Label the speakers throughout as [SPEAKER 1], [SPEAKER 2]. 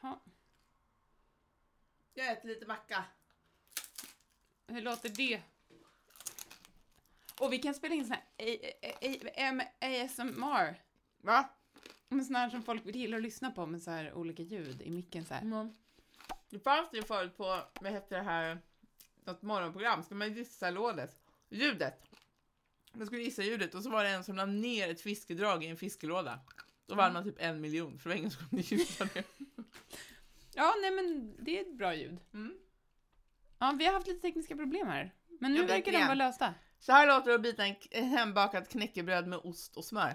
[SPEAKER 1] Ha.
[SPEAKER 2] Jag äter lite macka.
[SPEAKER 1] Hur låter det? Och vi kan spela in sån här A- A- A- M- ASMR.
[SPEAKER 2] Va?
[SPEAKER 1] Men sån här som folk gillar att lyssna på med så här olika ljud i micken så här.
[SPEAKER 2] Mm. Det fanns ju förut på, vad hette det här, något morgonprogram, ska man gissa lådet? Ljudet. Man skulle gissa ljudet och så var det en som la ner ett fiskedrag i en fiskelåda. Då vann man typ en miljon, för det var ingen som kunde gissa det.
[SPEAKER 1] Ja, nej men det är ett bra ljud.
[SPEAKER 2] Mm.
[SPEAKER 1] Ja, vi har haft lite tekniska problem här. Men nu
[SPEAKER 2] Ja,
[SPEAKER 1] verkar de
[SPEAKER 2] verkligen.
[SPEAKER 1] vara lösta.
[SPEAKER 2] Så här låter det att bita en k- en hembakad knäckebröd med ost och smör.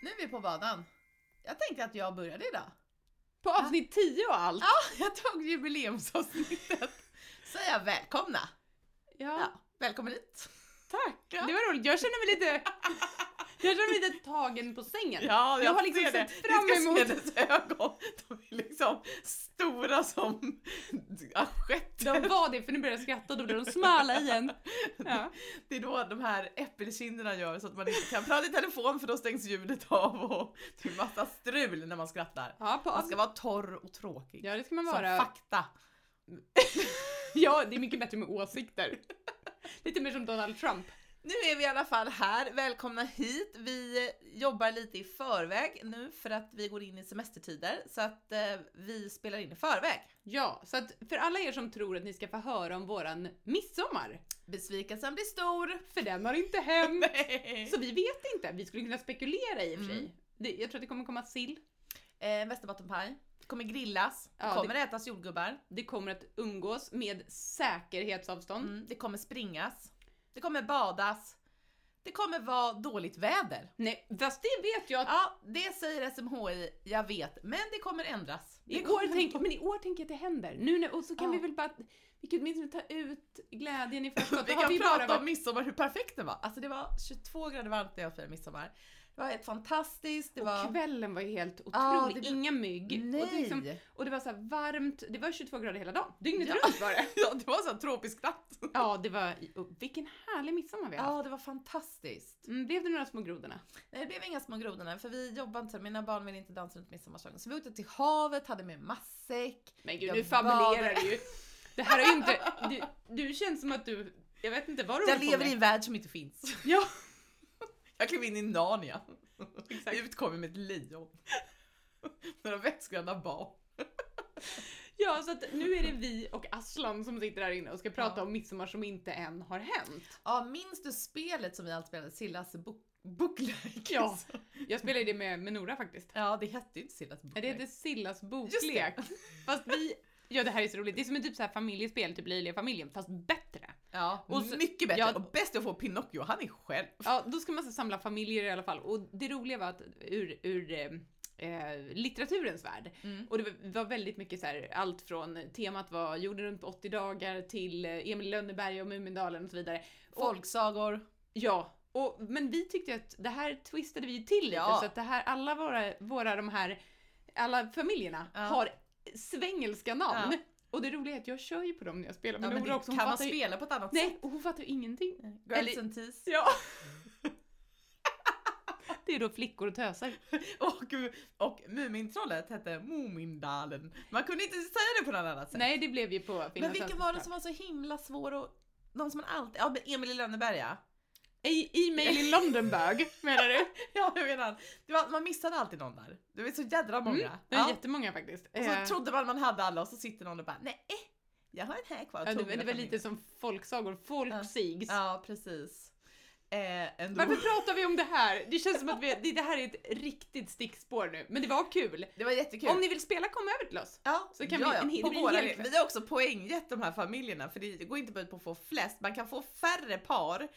[SPEAKER 2] Nu är vi på banan. Jag tänkte att jag började idag.
[SPEAKER 1] På avsnitt 10 och allt.
[SPEAKER 2] Ja, jag tog jubileumsavsnittet. Säger jag välkomna.
[SPEAKER 1] Ja,
[SPEAKER 2] Ja, välkommen hit.
[SPEAKER 1] tack.
[SPEAKER 2] Ja.
[SPEAKER 1] Det var roligt. Jag känner mig lite... Jag känner mig lite tagen på sängen.
[SPEAKER 2] Ja,
[SPEAKER 1] jag har liksom sett fram
[SPEAKER 2] Ni
[SPEAKER 1] emot-
[SPEAKER 2] ska se dess ögon. De är liksom stora som assietter.
[SPEAKER 1] De var det, för nu började jag skratta och då blev de smala igen. Ja.
[SPEAKER 2] Det är då de här äppelkinderna gör så att man inte kan prata i telefon för då stängs ljudet av och det är massa strul när man skrattar.
[SPEAKER 1] Ja, på
[SPEAKER 2] Man ska
[SPEAKER 1] avsnitt...
[SPEAKER 2] vara torr och tråkig.
[SPEAKER 1] ja, det ska man
[SPEAKER 2] Som
[SPEAKER 1] vara.
[SPEAKER 2] fakta.
[SPEAKER 1] Ja, det är mycket bättre med åsikter. Lite mer som Donald Trump.
[SPEAKER 2] Nu är vi i alla fall här. Välkomna hit. Vi jobbar lite i förväg nu för att vi går in i semestertider så att eh, vi spelar in i förväg.
[SPEAKER 1] Ja, så att för alla er som tror att ni ska få höra om våran midsommar,
[SPEAKER 2] Besvikelsen blir stor.
[SPEAKER 1] för den har inte hänt.
[SPEAKER 2] Nej.
[SPEAKER 1] Så vi vet inte, vi skulle kunna spekulera i och för sig.
[SPEAKER 2] Mm.
[SPEAKER 1] Det, jag tror att det kommer komma sill,
[SPEAKER 2] Eh, Västerbottenpaj. Kommer grillas.
[SPEAKER 1] Ja,
[SPEAKER 2] det kommer ätas jordgubbar.
[SPEAKER 1] det kommer att umgås med säkerhetsavstånd.
[SPEAKER 2] Mm, det kommer springas. Det kommer badas. Det kommer vara dåligt väder.
[SPEAKER 1] Nej, fast det vet jag att
[SPEAKER 2] Ja, det säger SMHI, jag vet. Men det kommer ändras. Det
[SPEAKER 1] I
[SPEAKER 2] kommer-
[SPEAKER 1] år tänk, men i år tänker jag att det händer. Nu när, och så kan
[SPEAKER 2] Ja.
[SPEAKER 1] vi väl bara, vi kan åtminstone ta ut glädjen i förskott.
[SPEAKER 2] Vi
[SPEAKER 1] Då har
[SPEAKER 2] kan prata
[SPEAKER 1] varit-
[SPEAKER 2] om midsommar, hur perfekt den var. Alltså det var 22 grader varmt när jag firade midsommar. Det var helt fantastiskt, det var...
[SPEAKER 1] Och kvällen var ju helt otrolig.
[SPEAKER 2] Ja, det-
[SPEAKER 1] Inga mygg. Och, det liksom,
[SPEAKER 2] Nej!
[SPEAKER 1] och det var så här varmt. Det var 22 grader hela dagen. Dygnet
[SPEAKER 2] Ja.
[SPEAKER 1] runt var det.
[SPEAKER 2] Ja, det var så här tropisk natt.
[SPEAKER 1] Ja, det var... Och vilken härlig midsommar vi har haft.
[SPEAKER 2] Ja, det var fantastiskt.
[SPEAKER 1] Mm, blev det några små grodorna?
[SPEAKER 2] Nej, det blev inga små grodorna för vi jobbade inte. Mina barn ville inte dansa runt midsommarstången. Så vi åkte till havet, hade med matsäck.
[SPEAKER 1] Men gud,
[SPEAKER 2] Jag
[SPEAKER 1] nu fabulerar
[SPEAKER 2] badade.
[SPEAKER 1] du ju. Det här är ju inte... Du, du känns som att du... Jag vet inte vad du
[SPEAKER 2] Jag
[SPEAKER 1] håller på
[SPEAKER 2] lever
[SPEAKER 1] med.
[SPEAKER 2] i en värld som inte finns.
[SPEAKER 1] Ja,
[SPEAKER 2] Jag klev in i Narnia.
[SPEAKER 1] exakt.
[SPEAKER 2] Ut kom jag med ett lejon. Några vätskegröna barn.
[SPEAKER 1] Ja, så att nu är det vi och Aslan som sitter här inne och ska prata
[SPEAKER 2] Ja.
[SPEAKER 1] om midsommar som inte än har hänt.
[SPEAKER 2] Ja, minns du spelet som vi alltid spelade? Sillas bo- boklek?
[SPEAKER 1] Ja. Jag spelade det med, med Nora faktiskt.
[SPEAKER 2] ja, det hette ju inte Sillas
[SPEAKER 1] Nej,
[SPEAKER 2] boklek.
[SPEAKER 1] Det heter Sillas
[SPEAKER 2] Just
[SPEAKER 1] boklek.
[SPEAKER 2] det.
[SPEAKER 1] Fast vi... Ja, det här är så roligt. Det är som en typ så här familjespel, typ Löjliga familjen, fast bättre.
[SPEAKER 2] Ja,
[SPEAKER 1] Och så-
[SPEAKER 2] mycket bättre.
[SPEAKER 1] ja.
[SPEAKER 2] Och bäst att få Pinocchio, han är själv.
[SPEAKER 1] Ja, då ska man så samla familjer i alla fall. Och det roliga var att ur, ur eh, eh, litteraturens värld,
[SPEAKER 2] Mm.
[SPEAKER 1] och det var- var väldigt mycket så här, allt från temat var jorden runt på 80 dagar till eh, Emil i Lönneberga och Mumindalen och så vidare. Och,
[SPEAKER 2] Folksagor.
[SPEAKER 1] ja, och, men vi tyckte att det här twistade vi ju till lite
[SPEAKER 2] Ja.
[SPEAKER 1] så att det här, alla våra, våra de här, alla familjerna
[SPEAKER 2] Ja.
[SPEAKER 1] har svengelska namn.
[SPEAKER 2] Ja.
[SPEAKER 1] Och det roliga är att jag kör ju på dem när jag spelar
[SPEAKER 2] Ja,
[SPEAKER 1] med
[SPEAKER 2] men
[SPEAKER 1] Nora
[SPEAKER 2] det
[SPEAKER 1] också. Hon
[SPEAKER 2] kan man
[SPEAKER 1] fattar ju,
[SPEAKER 2] spela på ett annat
[SPEAKER 1] nej,
[SPEAKER 2] sätt.
[SPEAKER 1] och hon fattar ju ingenting.
[SPEAKER 2] Girls
[SPEAKER 1] Eller-
[SPEAKER 2] and Teas.
[SPEAKER 1] Ja. Det är då flickor och töser.
[SPEAKER 2] Och, och Mumintrollet hette Mumindalen. Man kunde inte säga det på något annat sätt.
[SPEAKER 1] Nej, det blev ju på
[SPEAKER 2] men
[SPEAKER 1] Finlands
[SPEAKER 2] vilken var det som var så himla svår och de som man alltid, ja men Emil i Lönneberga.
[SPEAKER 1] E- E-mail i Londonburg, menar du?
[SPEAKER 2] Ja jag menar, det var, man missade alltid någon där. Det var så jädra många.
[SPEAKER 1] Mm, Det är
[SPEAKER 2] ja.
[SPEAKER 1] jättemånga faktiskt.
[SPEAKER 2] Och
[SPEAKER 1] Eh,
[SPEAKER 2] så trodde man man hade alla och så sitter någon och bara nej, eh, jag har en här
[SPEAKER 1] ja,
[SPEAKER 2] kvar. tog
[SPEAKER 1] det, det
[SPEAKER 2] mina
[SPEAKER 1] var
[SPEAKER 2] från
[SPEAKER 1] lite
[SPEAKER 2] min."
[SPEAKER 1] som folksagor, folksigs.
[SPEAKER 2] Ja precis. Eh, ändå.
[SPEAKER 1] Varför pratar vi om det här? Det känns som att vi, det- det här är ett riktigt stickspår nu, men det var kul.
[SPEAKER 2] Det var jättekul.
[SPEAKER 1] Om ni vill spela, kom över till oss.
[SPEAKER 2] Ja,
[SPEAKER 1] Så kan
[SPEAKER 2] ja,
[SPEAKER 1] vi-
[SPEAKER 2] ja.
[SPEAKER 1] en hel-
[SPEAKER 2] på
[SPEAKER 1] det blir en
[SPEAKER 2] våra,
[SPEAKER 1] hel
[SPEAKER 2] vi
[SPEAKER 1] fest.
[SPEAKER 2] har också poänggett de här familjerna för det går inte bara ut på att få flest, man kan få färre par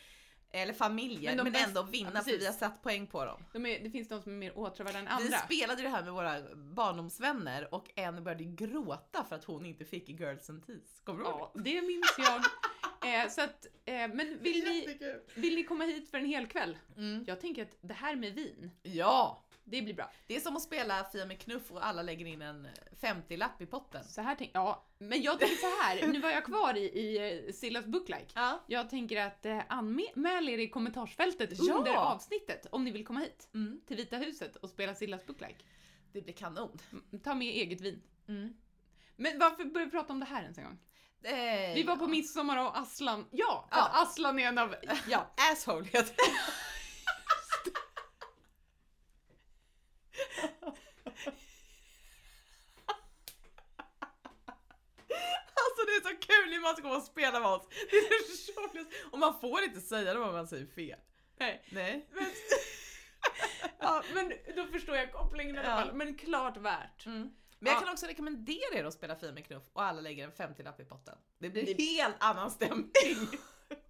[SPEAKER 2] eller familjer,
[SPEAKER 1] Men
[SPEAKER 2] men,
[SPEAKER 1] de bäst-
[SPEAKER 2] ändå vinna
[SPEAKER 1] ja,
[SPEAKER 2] för vi har
[SPEAKER 1] precis.
[SPEAKER 2] satt poäng på dem.
[SPEAKER 1] De är, det finns de som är mer åtråvärda än
[SPEAKER 2] Vi
[SPEAKER 1] andra.
[SPEAKER 2] spelade ju det här med våra barndomsvänner och en började gråta för att hon inte fick Girls and Teas. Kommer du ihåg?
[SPEAKER 1] Ja, det minns jag. Eh, så att, eh, men vill ni,
[SPEAKER 3] Jättekul.
[SPEAKER 1] vill ni komma hit för en hel kväll?
[SPEAKER 2] det? Mm.
[SPEAKER 1] Jag tänker att det här med vin,
[SPEAKER 2] Ja!
[SPEAKER 1] det blir bra.
[SPEAKER 2] Det är som att spela Fia med knuff och alla lägger in en 50-lapp i potten.
[SPEAKER 1] Så här tänk, ja, men jag tänker så här, nu var jag kvar i, i eh, Sillas Booklike.
[SPEAKER 2] Ja.
[SPEAKER 1] Jag tänker att eh, anmäl er i kommentarsfältet
[SPEAKER 2] Ja!
[SPEAKER 1] under avsnittet om ni vill komma hit
[SPEAKER 2] Mm.
[SPEAKER 1] till Vita huset och spela Sillas Booklike.
[SPEAKER 2] Det blir kanon.
[SPEAKER 1] Mm, Ta med eget vin.
[SPEAKER 2] Mm.
[SPEAKER 1] Men varför började vi prata om det här ens en gång?
[SPEAKER 2] Eh,
[SPEAKER 1] Vi var på
[SPEAKER 2] ja.
[SPEAKER 1] midsommar och Aslan, ja! för
[SPEAKER 2] Ja.
[SPEAKER 1] att Aslan är en av, ja.
[SPEAKER 2] Asshole heter det. Alltså det är så kul när man ska gå och spela med oss. Det är så sorgligt. Och man får inte säga det om man säger fel.
[SPEAKER 1] Nej.
[SPEAKER 2] Nej.
[SPEAKER 1] Men, ja, men då förstår jag kopplingen i alla
[SPEAKER 2] Ja.
[SPEAKER 1] fall. Men klart värt.
[SPEAKER 2] Mm. Men jag
[SPEAKER 1] Ja.
[SPEAKER 2] kan också rekommendera er att spela Fia med knuff och alla lägger en 50-lapp i potten. Det blir
[SPEAKER 1] Det-
[SPEAKER 2] helt annan stämning.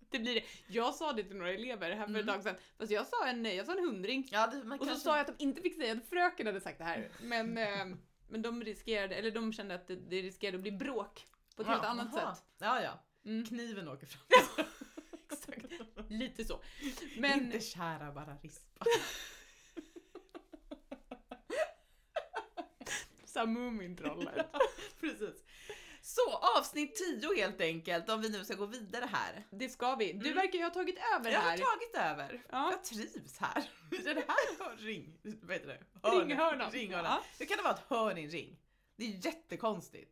[SPEAKER 1] Det blir det. Jag sa det till några elever här för ett
[SPEAKER 2] Mm.
[SPEAKER 1] tag sedan. Fast jag sa en, jag sa en hundring.
[SPEAKER 2] Ja, det, man
[SPEAKER 1] Och så sa jag att de inte fick säga att fröken hade sagt det här. Men, eh, men de riskerade, eller de kände att det, det riskerade att bli bråk på ett helt annat sätt.
[SPEAKER 2] Ja, ja.
[SPEAKER 1] Mm,
[SPEAKER 2] Kniven åker fram.
[SPEAKER 1] exakt. Lite så. Men
[SPEAKER 2] Inte kära, bara rispa.
[SPEAKER 1] såhär Mumintrollet.
[SPEAKER 2] Precis. Så avsnitt 10 helt enkelt om vi nu ska gå vidare här.
[SPEAKER 1] Det ska vi. Du
[SPEAKER 2] Mm.
[SPEAKER 1] verkar ju ha tagit över
[SPEAKER 2] Jag har
[SPEAKER 1] här.
[SPEAKER 2] tagit över.
[SPEAKER 1] Ja.
[SPEAKER 2] Jag trivs här. Det här hör- ring... Vad heter det? Hörn.
[SPEAKER 1] Ringhörnan.
[SPEAKER 2] Ringhörnan.
[SPEAKER 1] Ja.
[SPEAKER 2] Hur kan det vara ett hörn i en ring? Det är jättekonstigt.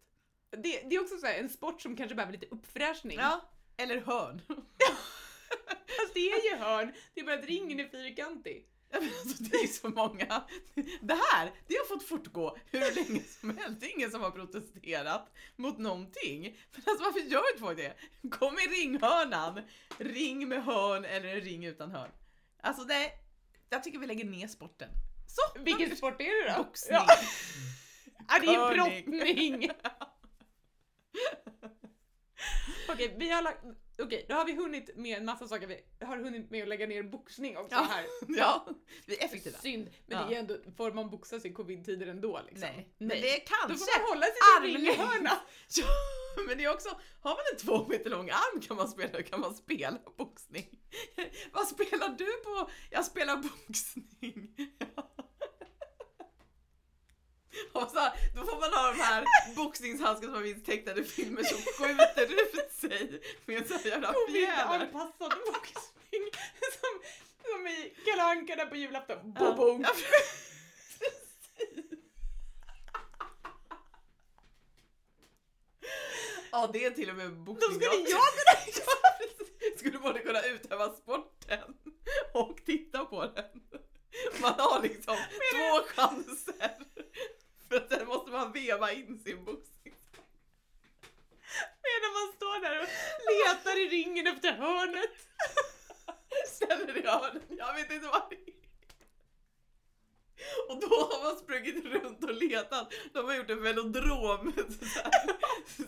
[SPEAKER 1] Det, det är också så här, en sport som kanske behöver lite uppfräschning.
[SPEAKER 2] Ja. Eller hörn.
[SPEAKER 1] Fast det är ju hörn, det är bara att ringen är fyrkantig.
[SPEAKER 2] Jag menar, alltså, det är så många. Det här, det har fått fortgå hur länge som helst. Det är ingen som har protesterat mot någonting. Men alltså varför gör inte folk det? Kom i ringhörnan. Ring med hörn eller en ring utan hörn. Alltså det, jag tycker vi lägger ner sporten. Så!
[SPEAKER 1] Vilken sport är det då?
[SPEAKER 2] Boxning.
[SPEAKER 1] Ja. Ja, det är
[SPEAKER 2] Curling.
[SPEAKER 1] brottning! Okej, vi har lagt... Okej, då har vi hunnit med en massa saker. Vi har hunnit med att lägga ner boxning också
[SPEAKER 2] Ja,
[SPEAKER 1] här.
[SPEAKER 2] Ja, vi är effektiva.
[SPEAKER 1] Synd, men det är ju ändå... Får man boxas i covid-tider ändå liksom?
[SPEAKER 2] Nej, men det är
[SPEAKER 1] Då
[SPEAKER 2] kanske
[SPEAKER 1] får man hålla sig till
[SPEAKER 2] armlängd.
[SPEAKER 1] ringhörna.
[SPEAKER 2] Ja, men det är också, har man en två meter lång arm kan man spela, kan man spela boxning. Vad spelar du på? Jag spelar boxning. Och så, då får man ha de här boxningshandskarna som man minns tecknade i filmer som skjuter ut sig med en sån här jävla fjäder.
[SPEAKER 1] Covid-anpassad boxning. Som, som i Kalle Anka där på julafton.
[SPEAKER 2] Ja.
[SPEAKER 1] Bo-bo.
[SPEAKER 2] Ja, precis. Ja, det är till och med boxning.
[SPEAKER 1] Då skulle
[SPEAKER 2] också.
[SPEAKER 1] jag kunna...
[SPEAKER 2] Ja, precis. skulle både kunna utöva sporten och titta på den. Man har liksom två chanser. För att sen måste man veva in sin boxning.
[SPEAKER 1] Medan man står där och letar i ringen efter hörnet.
[SPEAKER 2] Ställer i hörnet, jag vet inte vad det är. Och då har man sprungit runt och letat. De har gjort en velodrom, så här,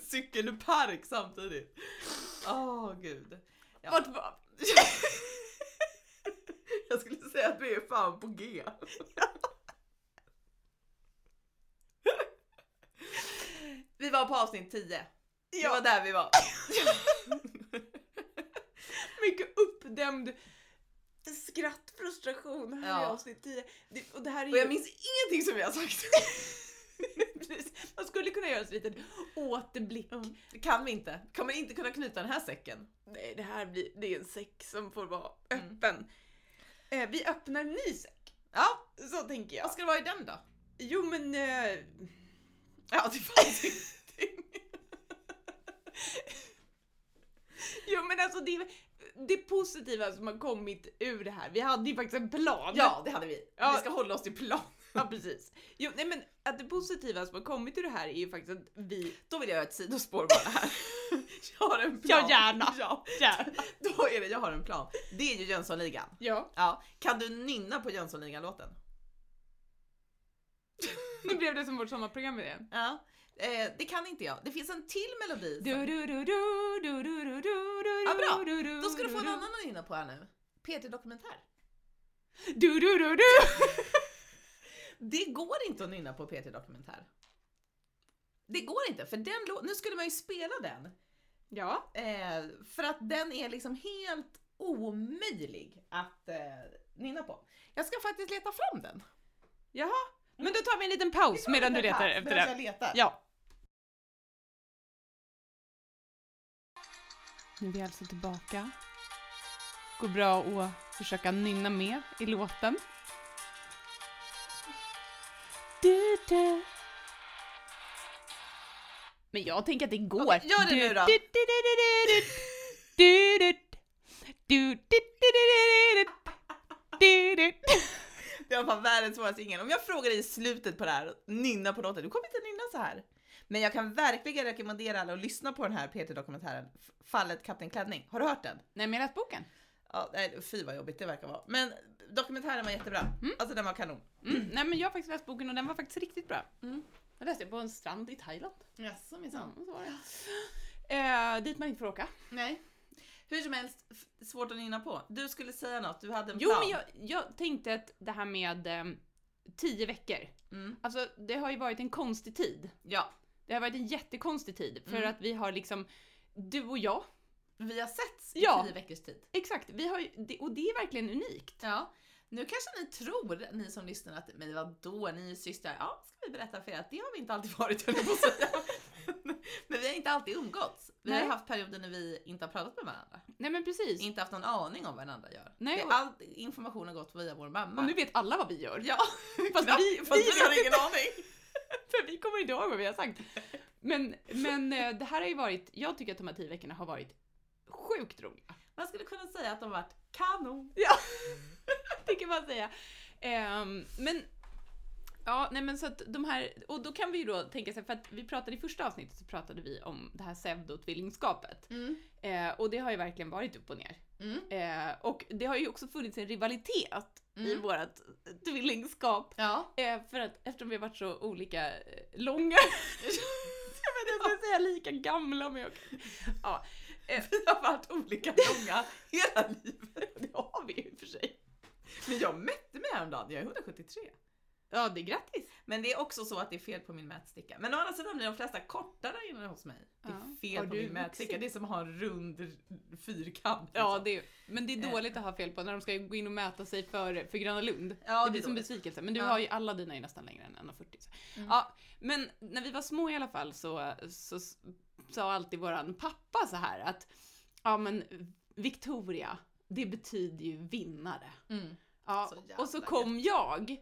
[SPEAKER 2] cykelpark samtidigt. Åh gud. Ja.
[SPEAKER 1] Vart var...
[SPEAKER 2] Jag skulle säga att vi är fan på G. Vi var på avsnitt 10. Det var där vi var.
[SPEAKER 1] Mycket uppdämd skrattfrustration här i
[SPEAKER 2] Ja.
[SPEAKER 1] avsnitt 10. Det, och det här är
[SPEAKER 2] Och jag
[SPEAKER 1] ju...
[SPEAKER 2] minns ingenting som vi har sagt.
[SPEAKER 1] Precis. Man skulle kunna göra en liten återblick.
[SPEAKER 2] Det kan vi inte. Kommer inte kunna knyta den här säcken.
[SPEAKER 1] Nej, det här blir, det är en säck som får vara
[SPEAKER 2] Mm.
[SPEAKER 1] öppen. Eh, vi öppnar en ny säck.
[SPEAKER 2] Ja,
[SPEAKER 1] Så tänker jag.
[SPEAKER 2] vad ska det vara i den då?
[SPEAKER 1] Jo men... Eh,
[SPEAKER 2] Ja, det fanns ingenting.
[SPEAKER 1] jo men alltså det, det positiva som har kommit ur det här. Vi hade ju faktiskt en plan.
[SPEAKER 2] Ja, det hade vi.
[SPEAKER 1] Ja.
[SPEAKER 2] Vi ska hålla oss till plan.
[SPEAKER 1] Ja, precis. Jo, nej men att det positiva som har kommit ur det här är ju faktiskt att vi...
[SPEAKER 2] Då vill jag göra ett sidospår bara här. Jag har en plan.
[SPEAKER 1] Ja, gärna.
[SPEAKER 2] Ja,
[SPEAKER 1] Ja.
[SPEAKER 2] då är det jag har en plan. Det är ju Jönssonligan.
[SPEAKER 1] ja.
[SPEAKER 2] Ja, kan du nynna på Jönssonligan-låten?
[SPEAKER 1] Nu blev det som vårt sommarprogram igen.
[SPEAKER 2] Ja. Eh, det kan inte jag. Det finns en till melodi. som-
[SPEAKER 1] Du, du, du, du, du, du, du, du, du,
[SPEAKER 2] Ja, bra.
[SPEAKER 1] du, du,
[SPEAKER 2] Då ska du få en
[SPEAKER 1] du, du.
[SPEAKER 2] annan att nynna på här nu. PT Dokumentär.
[SPEAKER 1] Du, du, du, du.
[SPEAKER 2] Det går inte att nynna på PT Dokumentär. Det går inte, för den lå- nu skulle man ju spela den.
[SPEAKER 1] Ja.
[SPEAKER 2] Eh, för att den är liksom helt omöjlig att eh, nynna på. Jag ska faktiskt leta fram den.
[SPEAKER 1] Jaha. Men då tar vi en liten paus medan du letar efter
[SPEAKER 2] Medan
[SPEAKER 1] det.
[SPEAKER 2] jag letar.
[SPEAKER 1] Ja. Nu är vi alltså tillbaka. Går bra att försöka nynna med i låten. Du, du. Men jag tänker att det går.
[SPEAKER 2] Okej, gör det
[SPEAKER 1] Du,
[SPEAKER 2] nu då.
[SPEAKER 1] du, du, du, du, du, du. Du, du, du, du, du, du, du, du.
[SPEAKER 2] Det var fan världens svåraste ingen. Om jag frågar dig i slutet på det här, nynna på låten, du kommer inte nynna så här. Men jag kan verkligen rekommendera alla att lyssna på den här PT-dokumentären, F- Fallet Kapten Klänning. Har du hört den?
[SPEAKER 1] Nej, men jag har läst boken.
[SPEAKER 2] Ja, nej, fy vad jobbigt det verkar vara. Men dokumentären var jättebra. Alltså den var kanon.
[SPEAKER 1] Mm. Nej men jag har faktiskt läst boken och den var faktiskt riktigt bra. Jag läste den på en strand i Thailand.
[SPEAKER 2] Jaså
[SPEAKER 1] Ja, så var det. Eh, dit man inte får åka.
[SPEAKER 2] Nej. Hur som helst, f- svårt att nynna på. Du skulle säga något, du hade en
[SPEAKER 1] Jo
[SPEAKER 2] plan.
[SPEAKER 1] men jag, jag tänkte att det här med ehm, tio veckor.
[SPEAKER 2] Mm.
[SPEAKER 1] Alltså det har ju varit en konstig tid.
[SPEAKER 2] Ja,
[SPEAKER 1] Det har varit en jättekonstig tid för
[SPEAKER 2] Mm.
[SPEAKER 1] att vi har liksom du och jag,
[SPEAKER 2] vi har setts i
[SPEAKER 1] Ja.
[SPEAKER 2] tio veckors tid.
[SPEAKER 1] exakt, vi har ju, det- och det är verkligen unikt.
[SPEAKER 2] Ja. Nu kanske ni tror, ni som lyssnar, att men vadå, ni är ju systrar. Ja, ska vi berätta för er att det har vi inte alltid varit, höll jag på att säga. Men vi har inte alltid umgåtts. Vi har
[SPEAKER 1] Nej.
[SPEAKER 2] haft perioder när vi inte har pratat med varandra.
[SPEAKER 1] Nej men precis.
[SPEAKER 2] Inte haft någon aning om vad varandra gör.
[SPEAKER 1] Nej,
[SPEAKER 2] Det-
[SPEAKER 1] och-
[SPEAKER 2] All information har gått via vår mamma.
[SPEAKER 1] Och nu vet alla vad vi gör.
[SPEAKER 2] Ja,
[SPEAKER 1] Fast vi,
[SPEAKER 2] fast vi har
[SPEAKER 1] vet
[SPEAKER 2] ingen aning.
[SPEAKER 1] För vi kommer inte ihåg vad vi har sagt. Men, men eh, det här har ju varit, jag tycker att de här tio veckorna har varit sjukt roliga.
[SPEAKER 2] Man skulle kunna säga att de varit kanon.
[SPEAKER 1] Det kan man säga. Ehm, men, ja, nej men så att de här, och då kan vi ju då tänka sig, för att vi pratade i första avsnittet så pratade vi om det här pseudotvillingskapet.
[SPEAKER 2] Mm.
[SPEAKER 1] Eh, och det har ju verkligen varit upp och ner.
[SPEAKER 2] Mm.
[SPEAKER 1] Eh, och det har ju också funnits en rivalitet i
[SPEAKER 2] Mm.
[SPEAKER 1] vårat tvillingskap.
[SPEAKER 2] Ja.
[SPEAKER 1] Eh, för att eftersom vi har varit så olika eh, långa, jag vet inte, jag ska säga lika gamla men jag ja. eh,
[SPEAKER 2] Vi har varit olika långa hela livet.
[SPEAKER 1] Det har vi ju i och för sig.
[SPEAKER 2] Men jag mätte mig häromdagen, jag är 173.
[SPEAKER 1] Ja, det är grattis.
[SPEAKER 2] Men det är också så att det är fel på min mätsticka. Men å andra sidan blir de flesta kortare inne hos mig.
[SPEAKER 1] Ja.
[SPEAKER 2] Det är fel
[SPEAKER 1] Har
[SPEAKER 2] på
[SPEAKER 1] du
[SPEAKER 2] min mätsticka,
[SPEAKER 1] vuxit?
[SPEAKER 2] det är som att ha en rund r- fyrkant.
[SPEAKER 1] Ja,
[SPEAKER 2] liksom.
[SPEAKER 1] det är, men det är
[SPEAKER 2] Eh.
[SPEAKER 1] dåligt att ha fel på när de ska gå in och mäta sig för, för Gröna Lund.
[SPEAKER 2] ja,
[SPEAKER 1] det blir
[SPEAKER 2] är
[SPEAKER 1] som
[SPEAKER 2] dåligt.
[SPEAKER 1] besvikelse. Men du
[SPEAKER 2] Ja.
[SPEAKER 1] har ju alla dina är nästan längre än 1,40. så.
[SPEAKER 2] Mm.
[SPEAKER 1] Ja, men när vi var små i alla fall så, så s- sa alltid våran pappa så här att ja men Victoria, det betyder ju vinnare.
[SPEAKER 2] Mm.
[SPEAKER 1] Ja,
[SPEAKER 2] Så jävla
[SPEAKER 1] och så kom jag.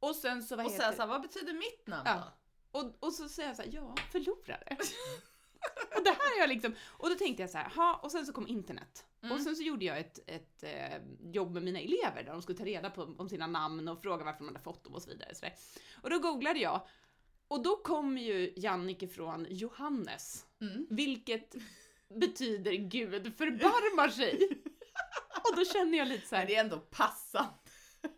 [SPEAKER 1] Och sen så, vad
[SPEAKER 2] Och
[SPEAKER 1] heter
[SPEAKER 2] sen så här, vad betyder mitt namn
[SPEAKER 1] Ja.
[SPEAKER 2] då?
[SPEAKER 1] och, och så säger jag så här, ja, förlorare. och det här är jag liksom, och då tänkte jag så här, ha, och sen så kom internet.
[SPEAKER 2] Mm.
[SPEAKER 1] Och sen så gjorde jag ett, ett eh, jobb med mina elever där de skulle ta reda på om sina namn och fråga varför man hade fått dem och så vidare. Så där. Och då googlade jag. Och då kom ju Jannike från Johannes,
[SPEAKER 2] Mm.
[SPEAKER 1] vilket betyder Gud förbarmar sig. Och då känner jag lite så här,
[SPEAKER 2] Men det är ändå passande.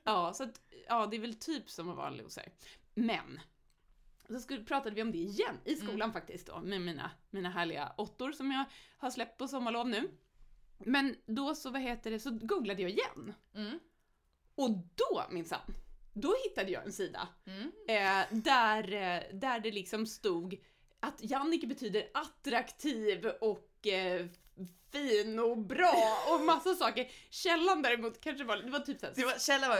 [SPEAKER 1] Ja, så att, ja, det är väl typ som att vara loser. Men, så skulle, pratade vi om det igen i skolan
[SPEAKER 2] Mm.
[SPEAKER 1] faktiskt då, med mina, mina härliga åttor som jag har släppt på sommarlov nu. Men då så, vad heter det, så googlade jag igen.
[SPEAKER 2] Mm.
[SPEAKER 1] Och då minsann, då hittade jag en sida
[SPEAKER 2] Mm.
[SPEAKER 1] eh, där, eh, där det liksom stod att Jannike betyder attraktiv och eh, fin och bra och massa saker. Källan däremot kanske var, det var typ såhär
[SPEAKER 2] Det var, Kjell var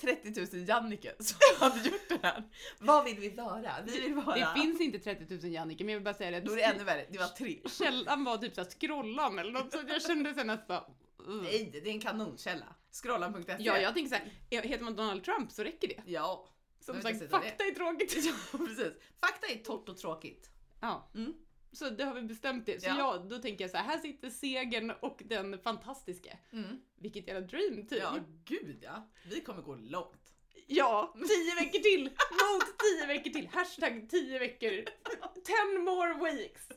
[SPEAKER 2] 30 000 Jannike som hade gjort det här. Vad vill vi vara? Vi vill vara...
[SPEAKER 1] Det finns inte 30 000 Jannike, men jag vill bara säga det.
[SPEAKER 2] Då är det ännu värre, det var tre.
[SPEAKER 1] Källan var typ såhär scrollan eller något, så jag kände sen att bara... "Ugh."
[SPEAKER 2] Nej, det är en kanonkälla. Scrollan.se.
[SPEAKER 1] Ja, jag tänker såhär, heter man Donald Trump så räcker det.
[SPEAKER 2] E. ja,
[SPEAKER 1] Som
[SPEAKER 2] Jag vet
[SPEAKER 1] sagt,
[SPEAKER 2] inte vad det är.
[SPEAKER 1] fakta är tråkigt.
[SPEAKER 2] precis. Fakta är torrt och tråkigt.
[SPEAKER 1] Ja.
[SPEAKER 2] Mm.
[SPEAKER 1] Så det har vi bestämt det. Så ja.
[SPEAKER 2] Ja.
[SPEAKER 1] då tänker jag så här, här sitter segern och den fantastiska.
[SPEAKER 2] Mm,
[SPEAKER 1] Vilket jävla dream team.
[SPEAKER 2] Ja,
[SPEAKER 1] Ja.
[SPEAKER 2] gud ja. Vi kommer gå långt.
[SPEAKER 1] tio veckor till! Mot tio veckor till! Hashtag tio veckor. Ten more weeks!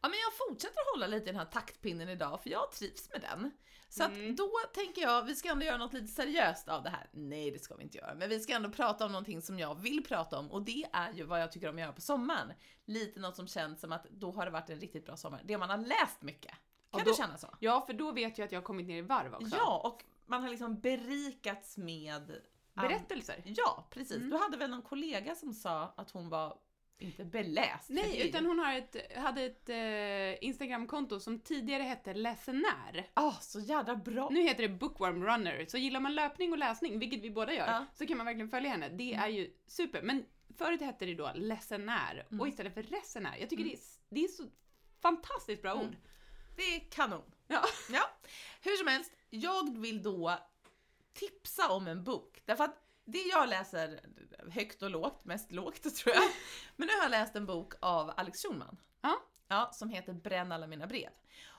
[SPEAKER 2] Ja, men jag fortsätter hålla lite i den här pinnen idag för jag trivs med den. Så
[SPEAKER 1] Mm.
[SPEAKER 2] att då tänker jag, vi ska ändå göra något lite seriöst av det här. Nej, det ska vi inte göra. Men vi ska ändå prata om någonting som jag vill prata om och det är ju vad jag tycker om att göra på sommaren. Lite något som känns som att då har det varit en riktigt bra sommar. Det man har läst mycket. Kan
[SPEAKER 1] Ja,
[SPEAKER 2] du
[SPEAKER 1] då-
[SPEAKER 2] känna så?
[SPEAKER 1] Ja, för då vet jag att jag har kommit ner i varv också.
[SPEAKER 2] Ja, och man har liksom berikats med...
[SPEAKER 1] Berättelser.
[SPEAKER 2] Ja, precis.
[SPEAKER 1] Mm.
[SPEAKER 2] Du hade väl någon kollega som sa att hon var inte beläst? för det är
[SPEAKER 1] Nej,
[SPEAKER 2] ju-
[SPEAKER 1] utan hon har ett, hade ett eh, Instagramkonto som tidigare hette Läsenär.
[SPEAKER 2] Ah, så jävla bra!
[SPEAKER 1] Nu heter det Bookworm Runner, så gillar man löpning och läsning, vilket vi båda gör,
[SPEAKER 2] Ja. Mm.
[SPEAKER 1] så kan man verkligen följa henne. Det är ju super. Men förut hette det då Läsenär,
[SPEAKER 2] Mm.
[SPEAKER 1] och istället för Resenär. Jag tycker
[SPEAKER 2] Mm.
[SPEAKER 1] det, är, s- det är så fantastiskt bra
[SPEAKER 2] Mm.
[SPEAKER 1] ord.
[SPEAKER 2] Det är kanon.
[SPEAKER 1] Ja.
[SPEAKER 2] ja. Hur som helst, jag vill då tipsa om en bok. Därför att det jag läser högt och lågt, mest lågt tror jag. Men nu har jag läst en bok av Alex Schulman.
[SPEAKER 1] Ja.
[SPEAKER 2] Ja, som heter Bränn alla mina brev.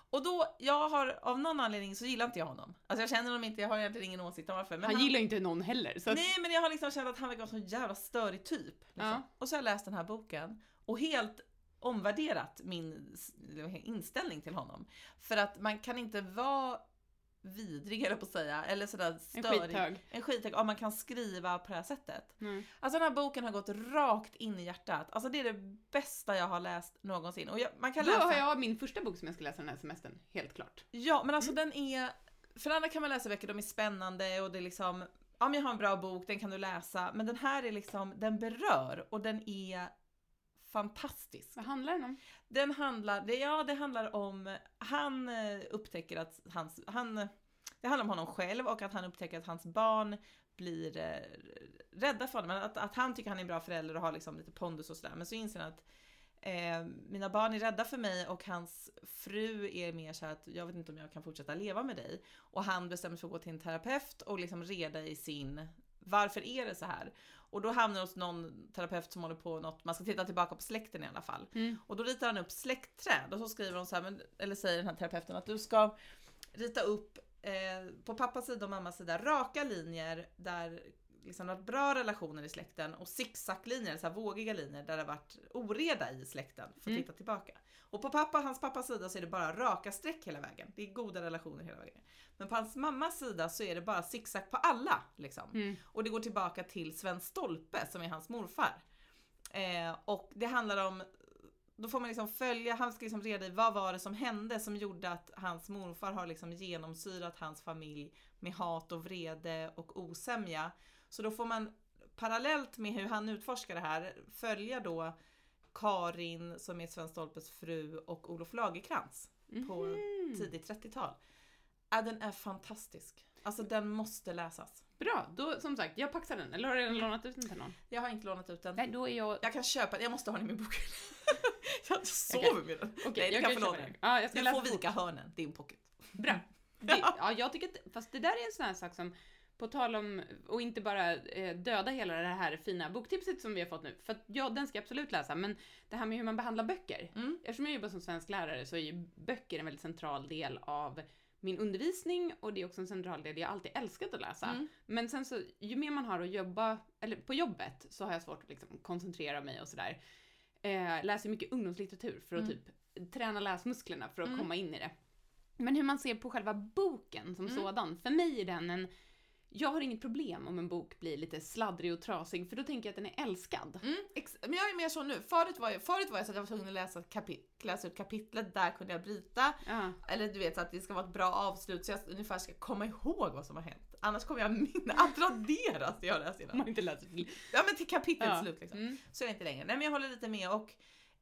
[SPEAKER 2] Och då, jag har av någon anledning så gillar inte jag honom. Alltså jag känner honom inte, jag har egentligen ingen åsikt om varför. Men
[SPEAKER 1] Han gillar ju inte någon heller, så att,
[SPEAKER 2] Nej men jag har liksom känt att han verkar vara en sån jävla störig typ. Liksom.
[SPEAKER 1] Ja.
[SPEAKER 2] Och så har jag läst den här boken och helt omvärderat min s- inställning till honom. För att man kan inte vara vidrig eller på att säga, eller sådär
[SPEAKER 1] en
[SPEAKER 2] störig.
[SPEAKER 1] skithög.
[SPEAKER 2] En skithög. Om man kan skriva på det här sättet.
[SPEAKER 1] Mm.
[SPEAKER 2] Alltså den här boken har gått rakt in i hjärtat. Alltså det är det bästa jag har läst någonsin. Och jag, man kan
[SPEAKER 1] Då
[SPEAKER 2] läsa...
[SPEAKER 1] har jag min första bok som jag ska läsa den här semestern, helt klart.
[SPEAKER 2] Ja, men alltså den är... För andra kan man läsa böcker, de är spännande och det är liksom... Ja men jag har en bra bok, den kan du läsa. Men den här är liksom, den berör och den är fantastisk.
[SPEAKER 1] Vad handlar den om?
[SPEAKER 2] Den handlar, det, ja det handlar om, han eh, upptäcker att hans, han, det handlar om honom själv och att han upptäcker att hans barn blir eh, rädda för honom. Att, att han tycker han är en bra förälder och har liksom lite pondus och sådär. Men så inser han att eh, mina barn är rädda för mig och hans fru är mer så här att jag vet inte om jag kan fortsätta leva med dig. Och han bestämmer sig för att gå till en terapeut och liksom reda i sin, varför är det så här? Och då hamnar han hos någon terapeut som håller på något, man ska titta tillbaka på släkten i alla fall.
[SPEAKER 1] Mm,
[SPEAKER 2] Och då ritar han upp släktträd och så skriver hon så här, men, eller säger den här terapeuten att du ska rita upp eh, på pappas sida och mammas sida raka linjer där liksom det har varit bra relationer i släkten och zigzaglinjer, så här vågiga linjer där det har varit oreda i släkten för att
[SPEAKER 1] Mm.
[SPEAKER 2] titta tillbaka. Och på pappa, hans pappas sida så är det bara raka streck hela vägen. Det är goda relationer hela vägen. Men på hans mammas sida så är det bara zigzag på alla liksom.
[SPEAKER 1] Mm.
[SPEAKER 2] Och det går tillbaka till Sven Stolpe som är hans morfar. Eh, och det handlar om, då får man liksom följa, han ska liksom reda i vad var det som hände som gjorde att hans morfar har liksom genomsyrat hans familj med hat och vrede och osämja. Så då får man parallellt med hur han utforskar det här följa då Karin som är Sven Stolpes fru och Olof Lagerkrans på
[SPEAKER 1] Mhm.
[SPEAKER 2] tidigt 30-tal. Äh, den är fantastisk. Alltså den måste läsas.
[SPEAKER 1] Bra, då som sagt, jag paxar den. Eller har jag redan lånat ut den till någon?
[SPEAKER 2] Jag har inte lånat ut den.
[SPEAKER 1] Nej, då är jag...
[SPEAKER 2] Jag kan köpa den, jag måste ha den i min bokhylla. jag
[SPEAKER 1] Jag
[SPEAKER 2] sover med den.
[SPEAKER 1] Okej,
[SPEAKER 2] Nej, du
[SPEAKER 1] jag
[SPEAKER 2] kan
[SPEAKER 1] kan
[SPEAKER 2] få
[SPEAKER 1] köpa
[SPEAKER 2] låna
[SPEAKER 1] den. Ja, jag ska
[SPEAKER 2] Du
[SPEAKER 1] läsa
[SPEAKER 2] får vika hörnen, din pocket.
[SPEAKER 1] Bra. Det, ja, jag tycker att, fast det där är en sån här sak som, på tal om, och inte bara eh, döda hela det här fina boktipset som vi har fått nu, för att ja, den ska jag absolut läsa, men det här med hur man behandlar böcker.
[SPEAKER 2] Mm.
[SPEAKER 1] Eftersom jag jobbar som svensklärare så är ju böcker en väldigt central del av min undervisning och det är också en central del jag alltid älskat att läsa.
[SPEAKER 2] Mm.
[SPEAKER 1] Men sen så, ju mer man har att jobba, eller på jobbet, så har jag svårt att liksom koncentrera mig och sådär. Eh, läser mycket ungdomslitteratur för att
[SPEAKER 2] Mm.
[SPEAKER 1] typ träna läsmusklerna för att
[SPEAKER 2] Mm.
[SPEAKER 1] komma in i det. Men hur man ser på själva boken som
[SPEAKER 2] Mm.
[SPEAKER 1] sådan, för mig är den en... Jag har inget problem om en bok blir lite sladdrig och trasig, för då tänker jag att den är älskad.
[SPEAKER 2] Mm, ex- men jag är mer så nu, förut var jag, förut var jag så att jag var tvungen att läsa, ett kapit- läsa ut kapitlet, där kunde jag bryta.
[SPEAKER 1] Ja.
[SPEAKER 2] Eller du vet så att det ska vara ett bra avslut så jag ungefär ska komma ihåg vad som har hänt. Annars kommer jag minna, attraderas det jag läst
[SPEAKER 1] Om
[SPEAKER 2] innan.
[SPEAKER 1] man inte läser till.
[SPEAKER 2] Mm. Ja men till kapitlets
[SPEAKER 1] Ja.
[SPEAKER 2] slut liksom.
[SPEAKER 1] Mm.
[SPEAKER 2] Så är det inte längre. Nej men jag håller lite med och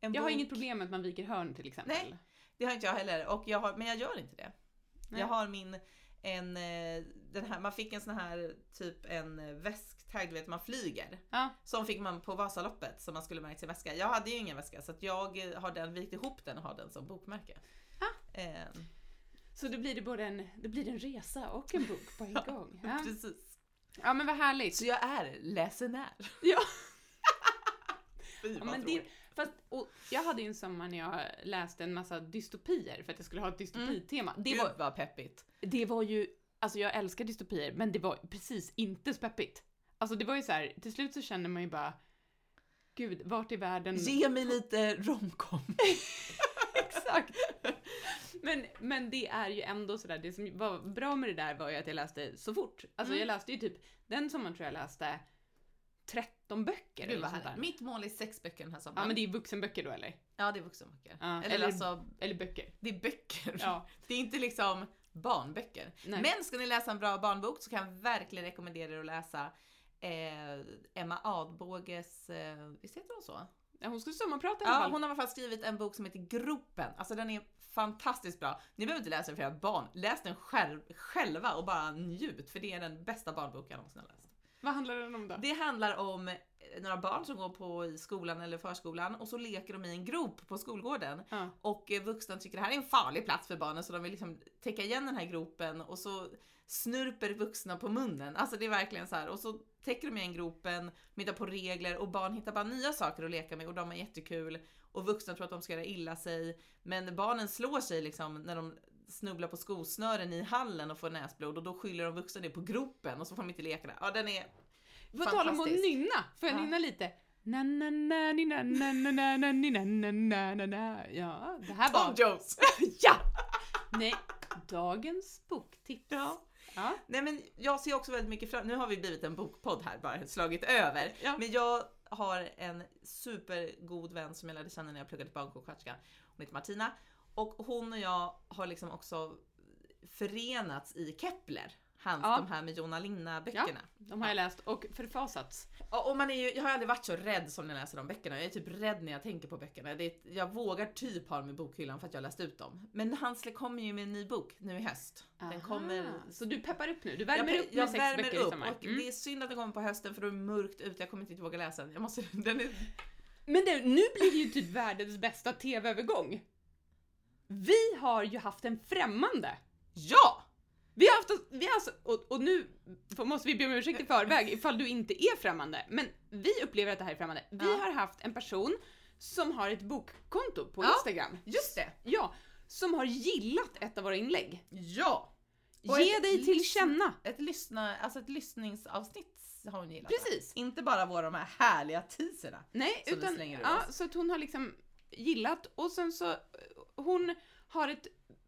[SPEAKER 2] en
[SPEAKER 1] Jag har
[SPEAKER 2] bok-
[SPEAKER 1] inget problem med att man viker hörn till exempel.
[SPEAKER 2] Nej. Det har inte jag heller, och jag har, men jag gör inte det.
[SPEAKER 1] Nej.
[SPEAKER 2] Jag har min, en, eh, den här, man fick en sån här typ en eh, väsktag, du vet man flyger.
[SPEAKER 1] Ja.
[SPEAKER 2] Som fick man på Vasaloppet som man skulle märka sin väska. Jag hade ju ingen väska så att jag eh, har den, vikt ihop den och har den som bokmärke. Eh,
[SPEAKER 1] Så då blir det både en, då blir det en resa och en bok på en gång. Ja.
[SPEAKER 2] Precis.
[SPEAKER 1] ja men vad härligt.
[SPEAKER 2] Så jag är läsenär.
[SPEAKER 1] Ja.
[SPEAKER 2] Fy
[SPEAKER 1] Ja,
[SPEAKER 2] vad
[SPEAKER 1] men det,
[SPEAKER 2] tråkigt.
[SPEAKER 1] fast, och jag hade ju en sommar när jag läste en massa dystopier för att jag skulle ha ett dystopitema. Det,
[SPEAKER 2] Mm. Gud
[SPEAKER 1] var,
[SPEAKER 2] vad peppigt.
[SPEAKER 1] det var ju, alltså jag älskar dystopier men det var precis inte så peppigt. Alltså det var ju så här, till slut så känner man ju bara Gud, vart är världen?
[SPEAKER 2] Ge mig lite romcom.
[SPEAKER 1] Exakt! Men, men det är ju ändå sådär, det som var bra med det där var ju att jag läste så fort. Alltså
[SPEAKER 2] Mm.
[SPEAKER 1] jag läste ju typ, den sommaren tror jag läste 13 böcker
[SPEAKER 2] Gud vad
[SPEAKER 1] sånt där.
[SPEAKER 2] härligt. Mitt mål är sex böcker den här sommaren.
[SPEAKER 1] Ja men det är ju vuxenböcker då eller?
[SPEAKER 2] Ja, det är vuxenböcker.
[SPEAKER 1] Ja,
[SPEAKER 2] eller,
[SPEAKER 1] eller-
[SPEAKER 2] alltså,
[SPEAKER 1] Eller böcker.
[SPEAKER 2] det är böcker.
[SPEAKER 1] Ja.
[SPEAKER 2] Det är inte liksom barnböcker.
[SPEAKER 1] Nej.
[SPEAKER 2] Men ska ni läsa en bra barnbok så kan jag verkligen rekommendera er att läsa eh, Emma Adbåges, eh, visst heter hon så?
[SPEAKER 1] Ja, hon skulle sommarprata i alla
[SPEAKER 2] Ja,
[SPEAKER 1] fall.
[SPEAKER 2] hon har i alla fall skrivit en bok som heter Gropen. Alltså den är fantastiskt bra. Ni behöver inte läsa den för era barn. Läs den själv, själva och bara njut för det är den bästa barnboken jag någonsin har läst.
[SPEAKER 1] Vad handlar den om då?
[SPEAKER 2] Det handlar om eh, några barn som går på i skolan eller förskolan och så leker de i en grop på skolgården.
[SPEAKER 1] Ja.
[SPEAKER 2] Och eh, vuxna tycker det här är en farlig plats för barnen så de vill liksom täcka igen den här gropen och så snurper vuxna på munnen. Alltså det är verkligen så här. Och så täcker de igen gropen, de hittar på regler och barn hittar bara nya saker att leka med och de har jättekul. Och vuxna tror att de ska göra illa sig men barnen slår sig liksom när de snubblar på skosnören i hallen och får näsblod och då skyller de vuxna det på gropen och så får de inte leka där. Ja den är
[SPEAKER 1] På tal om att
[SPEAKER 2] Fantastiskt.
[SPEAKER 1] nynna, får jag
[SPEAKER 2] Ja.
[SPEAKER 1] nynna lite? Na na na ni, na na na na na ni, na na na na na Ja, det här
[SPEAKER 2] Tom
[SPEAKER 1] var...
[SPEAKER 2] Jones!
[SPEAKER 1] Ja! Nej, dagens boktips.
[SPEAKER 2] Ja.
[SPEAKER 1] Ja.
[SPEAKER 2] Nej men jag ser också väldigt mycket fram Nu har vi blivit en bokpodd här bara, slagit över.
[SPEAKER 1] Ja.
[SPEAKER 2] Men jag har en supergod vän som jag lärde känna när jag pluggade till barnsjuksköterska. Hon heter Martina. Och hon och jag har liksom också förenats i Kepler. Hans,
[SPEAKER 1] Ja.
[SPEAKER 2] de här med Jona Linna böckerna.
[SPEAKER 1] De har jag läst och förfasats.
[SPEAKER 2] Ja, och man är ju, jag har aldrig varit så rädd som när jag läser de böckerna. Jag är typ rädd när jag tänker på böckerna. Det är, ett- jag vågar typ ha dem i bokhyllan för att jag har läst ut dem. Men Hansle kommer ju med en ny bok nu i höst. Den kommer
[SPEAKER 1] Så du peppar upp nu, du
[SPEAKER 2] jag
[SPEAKER 1] värmer
[SPEAKER 2] pe-
[SPEAKER 1] upp med
[SPEAKER 2] jag
[SPEAKER 1] sex
[SPEAKER 2] värmer
[SPEAKER 1] böcker i
[SPEAKER 2] upp
[SPEAKER 1] sommar.
[SPEAKER 2] och
[SPEAKER 1] Mm.
[SPEAKER 2] det är synd att den kommer på hösten för då är det mörkt ute, jag kommer inte våga läsa den. Jag måste, den är,
[SPEAKER 1] Men det, nu blir det ju typ världens bästa TV-övergång. Vi har ju haft en främmande.
[SPEAKER 2] ja!
[SPEAKER 1] Vi har haft, oss- vi har alltså, och, och nu får- måste vi be om ursäkt i förväg ifall du inte är främmande, men vi upplever att det här är främmande. Vi
[SPEAKER 2] Ja.
[SPEAKER 1] har haft en person som har ett bokkonto på
[SPEAKER 2] Ja.
[SPEAKER 1] Instagram.
[SPEAKER 2] Just det!
[SPEAKER 1] Ja, som har gillat ett av våra inlägg.
[SPEAKER 2] Ja! Och
[SPEAKER 1] Ge
[SPEAKER 2] ett
[SPEAKER 1] dig till
[SPEAKER 2] lyssn-
[SPEAKER 1] känna.
[SPEAKER 2] Ett, lyssna, alltså ett lyssningsavsnitt har hon gillat.
[SPEAKER 1] Precis.
[SPEAKER 2] Inte bara våra de här härliga teaserna.
[SPEAKER 1] Nej,
[SPEAKER 2] som vi
[SPEAKER 1] utan
[SPEAKER 2] slänger ur
[SPEAKER 1] ja,
[SPEAKER 2] oss.
[SPEAKER 1] så att hon har liksom gillat och sen så eh, hon har ett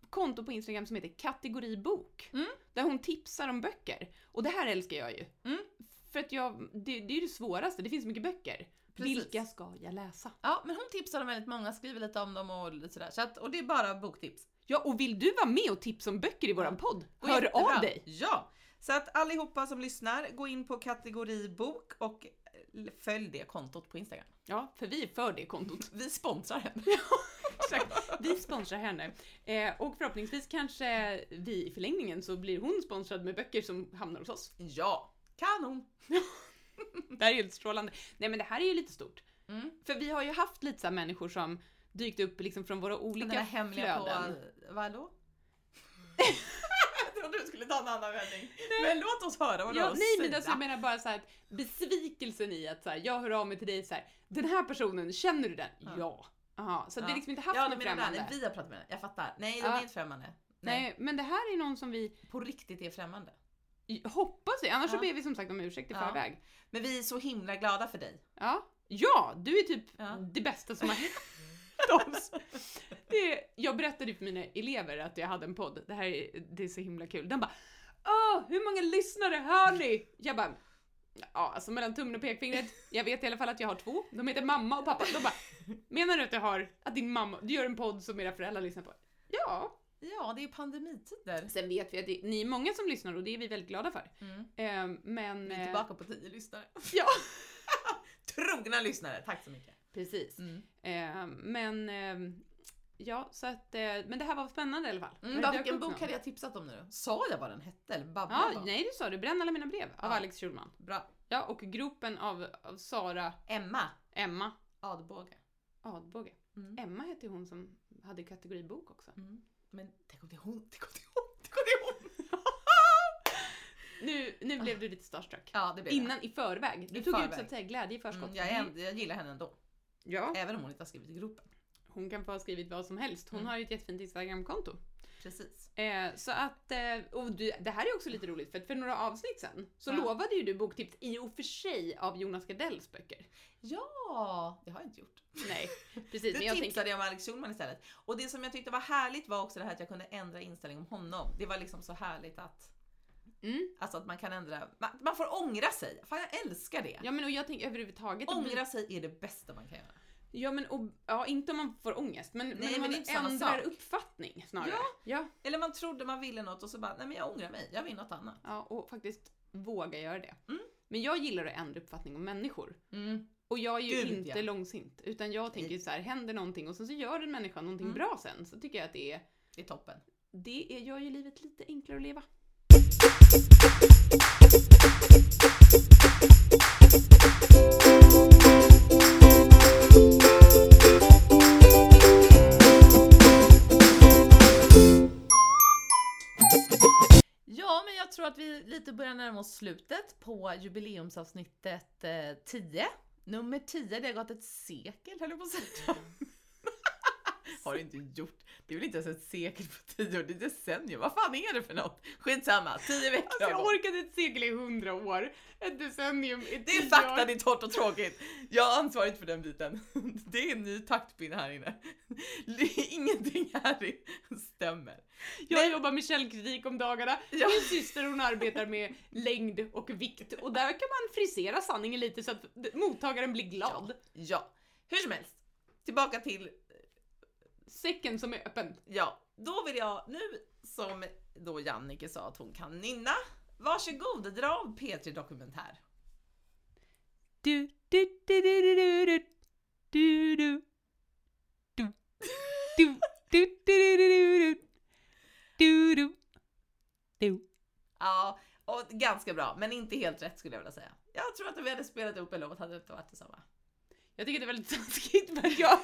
[SPEAKER 1] konto på Instagram som heter kategoribok
[SPEAKER 2] Mm.
[SPEAKER 1] där hon tipsar om böcker och det här älskar jag ju.
[SPEAKER 2] Mm.
[SPEAKER 1] För att jag, det, det är ju det svåraste, det finns så mycket böcker.
[SPEAKER 2] Precis.
[SPEAKER 1] Vilka ska jag läsa?
[SPEAKER 2] Ja, men hon tipsar om väldigt många, skriver lite om dem och lite sådär. Så att, och det är bara boktips.
[SPEAKER 1] Ja, och vill du vara med och tipsa om böcker i våran podd?
[SPEAKER 2] Gå
[SPEAKER 1] Hör
[SPEAKER 2] jättebra.
[SPEAKER 1] av dig!
[SPEAKER 2] Ja! Så att allihopa som lyssnar, gå in på kategori bok och eh, följ det kontot på Instagram.
[SPEAKER 1] Ja, för vi är för det kontot.
[SPEAKER 2] Vi sponsrar henne.
[SPEAKER 1] Exakt. Vi sponsrar henne. Eh, och förhoppningsvis kanske vi i förlängningen så blir hon sponsrad med böcker som hamnar hos oss.
[SPEAKER 2] Ja, kanon!
[SPEAKER 1] Det här är helt strålande. Nej men det här är ju lite stort.
[SPEAKER 2] Mm.
[SPEAKER 1] För vi har ju haft lite så här människor som dykt upp liksom från våra
[SPEAKER 2] Den
[SPEAKER 1] olika
[SPEAKER 2] där hemliga
[SPEAKER 1] flöden.
[SPEAKER 2] på... Vadå? jag trodde du skulle ta en annan vändning. Men låt oss höra vad du har
[SPEAKER 1] Ja,
[SPEAKER 2] att
[SPEAKER 1] nej men
[SPEAKER 2] säga.
[SPEAKER 1] alltså, jag menar bara så här att besvikelsen i att så här, jag hör av mig till dig så här, den här personen, känner du den?
[SPEAKER 2] Ja.
[SPEAKER 1] Ja. Aha, så vi har
[SPEAKER 2] Ja.
[SPEAKER 1] liksom inte haft
[SPEAKER 2] ja, du
[SPEAKER 1] någon
[SPEAKER 2] menar
[SPEAKER 1] främmande.
[SPEAKER 2] den. Vi har pratat med den. Jag fattar. Nej, de
[SPEAKER 1] Ja.
[SPEAKER 2] är inte främmande. Nej.
[SPEAKER 1] Nej, men det här är någon som vi
[SPEAKER 2] På riktigt är främmande.
[SPEAKER 1] hoppas i, annars
[SPEAKER 2] Ja.
[SPEAKER 1] så ber vi som sagt om ursäkt i
[SPEAKER 2] Ja.
[SPEAKER 1] förväg.
[SPEAKER 2] Men vi är så himla glada för dig.
[SPEAKER 1] Ja. ja, du är typ
[SPEAKER 2] Ja.
[SPEAKER 1] det bästa som har hänt. oss. Det, jag berättade ju för mina elever att jag hade en podd. Det här är, det är så himla kul. Den bara Åh, hur många lyssnare har ni? Jag bara Ja, alltså mellan tummen och pekfingret. Jag vet i alla fall att jag har två. De heter mamma och pappa. De bara Menar du att du har, att din mamma, du gör en podd som era föräldrar lyssnar på? Ja.
[SPEAKER 2] Ja, det är pandemitider.
[SPEAKER 1] Sen vet vi att det, ni är många som lyssnar och det är vi väldigt glada för.
[SPEAKER 2] Mm.
[SPEAKER 1] Eh, men...
[SPEAKER 2] Vi är
[SPEAKER 1] eh,
[SPEAKER 2] tillbaka på tio lyssnare.
[SPEAKER 1] Ja,
[SPEAKER 2] Trogna lyssnare, tack så mycket.
[SPEAKER 1] precis.
[SPEAKER 2] Mm.
[SPEAKER 1] Eh, men eh, ja, så att, eh, men det här var spännande i alla fall.
[SPEAKER 2] Mm,
[SPEAKER 1] Det
[SPEAKER 2] bara,
[SPEAKER 1] dök
[SPEAKER 2] vilken
[SPEAKER 1] upp
[SPEAKER 2] bok
[SPEAKER 1] någon.
[SPEAKER 2] hade jag tipsat om nu? Sa jag vad den hette? Eller babblade
[SPEAKER 1] Ja,
[SPEAKER 2] jag bara?
[SPEAKER 1] nej det sa du. Bränn alla mina brev av
[SPEAKER 2] Ja.
[SPEAKER 1] Alex Schulman.
[SPEAKER 2] Bra.
[SPEAKER 1] Ja, och gropen av, av Sara
[SPEAKER 2] Emma
[SPEAKER 1] Emma
[SPEAKER 2] Adbåge.
[SPEAKER 1] Adbåge.
[SPEAKER 2] Mm.
[SPEAKER 1] Emma hette ju hon som hade kategoribok också.
[SPEAKER 2] Mm. Men tänk om det är hon, tänk om det är hon, tänk om det är hon!
[SPEAKER 1] Nu, nu blev du lite starstruck.
[SPEAKER 2] Ja, det blev det.
[SPEAKER 1] Innan, i förväg. Du
[SPEAKER 2] I
[SPEAKER 1] tog ut
[SPEAKER 2] förväg.
[SPEAKER 1] så att säga glädje i förskott.
[SPEAKER 2] Mm, jag, är, jag gillar henne ändå,
[SPEAKER 1] Ja.
[SPEAKER 2] även om hon inte har skrivit i gropen.
[SPEAKER 1] Hon kan få ha skrivit vad som helst. Hon
[SPEAKER 2] Mm.
[SPEAKER 1] har ju ett jättefint Instagramkonto.
[SPEAKER 2] Precis.
[SPEAKER 1] Eh, så att, eh, och du, det här är också lite roligt för att för några avsnitt sen så
[SPEAKER 2] Ja.
[SPEAKER 1] lovade ju du boktips i och för sig av Jonas Gardells böcker.
[SPEAKER 2] Ja, det har jag inte gjort.
[SPEAKER 1] Nej,
[SPEAKER 2] Du
[SPEAKER 1] precis. men jag
[SPEAKER 2] tipsade
[SPEAKER 1] tänker,
[SPEAKER 2] jag om Alex Schulman istället. Och det som jag tyckte var härligt var också det här att jag kunde ändra inställning om honom. Det var liksom så härligt att,
[SPEAKER 1] mm,
[SPEAKER 2] alltså att man kan ändra, man, man får ångra sig. Fan jag älskar det.
[SPEAKER 1] ja men och jag tänker överhuvudtaget att bli-
[SPEAKER 2] Ångra sig är typ det bästa man kan göra.
[SPEAKER 1] Ja men och, ja, inte om man får ångest men, men om
[SPEAKER 2] men
[SPEAKER 1] man
[SPEAKER 2] det är inte samma
[SPEAKER 1] ändrar
[SPEAKER 2] sak.
[SPEAKER 1] uppfattning snarare.
[SPEAKER 2] Ja.
[SPEAKER 1] ja.
[SPEAKER 2] Eller man trodde man ville något och så bara, nej men jag ångrar mig, jag vill något annat.
[SPEAKER 1] Ja, och faktiskt våga göra det.
[SPEAKER 2] Mm.
[SPEAKER 1] Men jag gillar att ändra uppfattning om människor. Och jag är ju
[SPEAKER 2] Gud,
[SPEAKER 1] inte
[SPEAKER 2] ja.
[SPEAKER 1] långsint. Utan jag tänker ju så här, händer någonting och sen så gör en människa någonting
[SPEAKER 2] Mm.
[SPEAKER 1] bra sen så tycker jag att det är,
[SPEAKER 2] Det är toppen.
[SPEAKER 1] det är, gör ju livet lite enklare att leva.
[SPEAKER 2] Ja, men jag tror att vi lite börjar närma oss slutet på jubileumsavsnittet eh, 10. Nummer 10, det har gått ett sekel höll jag på att säga. har det inte gjort. Det är väl inte ens ett sekel på 10 år, det är decennium. Vad fan är det för något? Skitsamma, 10 veckor har gått.
[SPEAKER 1] Alltså, orkade ett segel i hundra år. Ett decennium i
[SPEAKER 2] Det är fakta, det är torrt och tråkigt. Jag är ansvarig för den biten. Det är en ny taktpinne här inne. Ingenting här i- stämmer.
[SPEAKER 1] Jag jobbar med källkritik om dagarna.
[SPEAKER 2] Ja.
[SPEAKER 1] Min syster hon arbetar med längd och vikt. Och där kan man frisera sanningen lite så att mottagaren blir glad.
[SPEAKER 2] Ja, hur som helst. Tillbaka till
[SPEAKER 1] Säcken som är öppen.
[SPEAKER 2] Ja, då vill jag nu som då Jannike sa att hon kan nynna. Varsågod, dra av P3 Dokumentär.
[SPEAKER 1] Du, du, du, du, du, du, du, du, du. Du, du, du, du, du, du, du, du, du. Du.
[SPEAKER 2] Ja, och ganska bra, men inte helt rätt skulle jag vilja säga. Jag tror att om vi hade spelat upp en låt hade det inte varit detsamma.
[SPEAKER 1] Jag tycker det är väldigt taskigt men jag,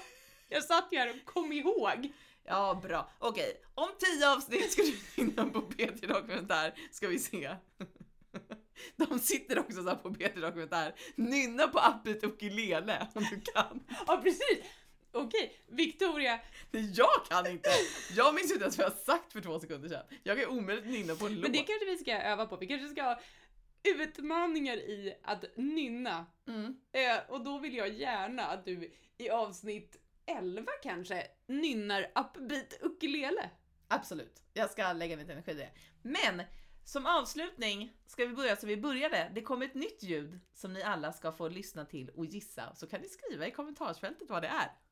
[SPEAKER 1] jag satt ju här och kom ihåg.
[SPEAKER 2] Ja, bra. Okej, om tio avsnitt skulle du nynna på P3 Dokumentär ska vi se. De sitter också så här på P3 Dokumentär, nynna på appet ukulele om du kan.
[SPEAKER 1] Ja precis! Okej, Victoria.
[SPEAKER 2] Nej, Jag kan inte! Jag minns inte ens vad jag sagt för två sekunder sedan. Jag kan omöjligt nynna på en låt.
[SPEAKER 1] Men det kanske vi ska öva på. Vi kanske ska ha utmaningar i att nynna.
[SPEAKER 2] mm.
[SPEAKER 1] Eh, och då vill jag gärna att du i avsnitt 11 kanske nynnar Upbeat Ukulele.
[SPEAKER 2] Absolut, jag ska lägga lite energi i det. Men som avslutning ska vi börja som vi började. Det kommer ett nytt ljud som ni alla ska få lyssna till och gissa. Så kan ni skriva i kommentarsfältet vad det är.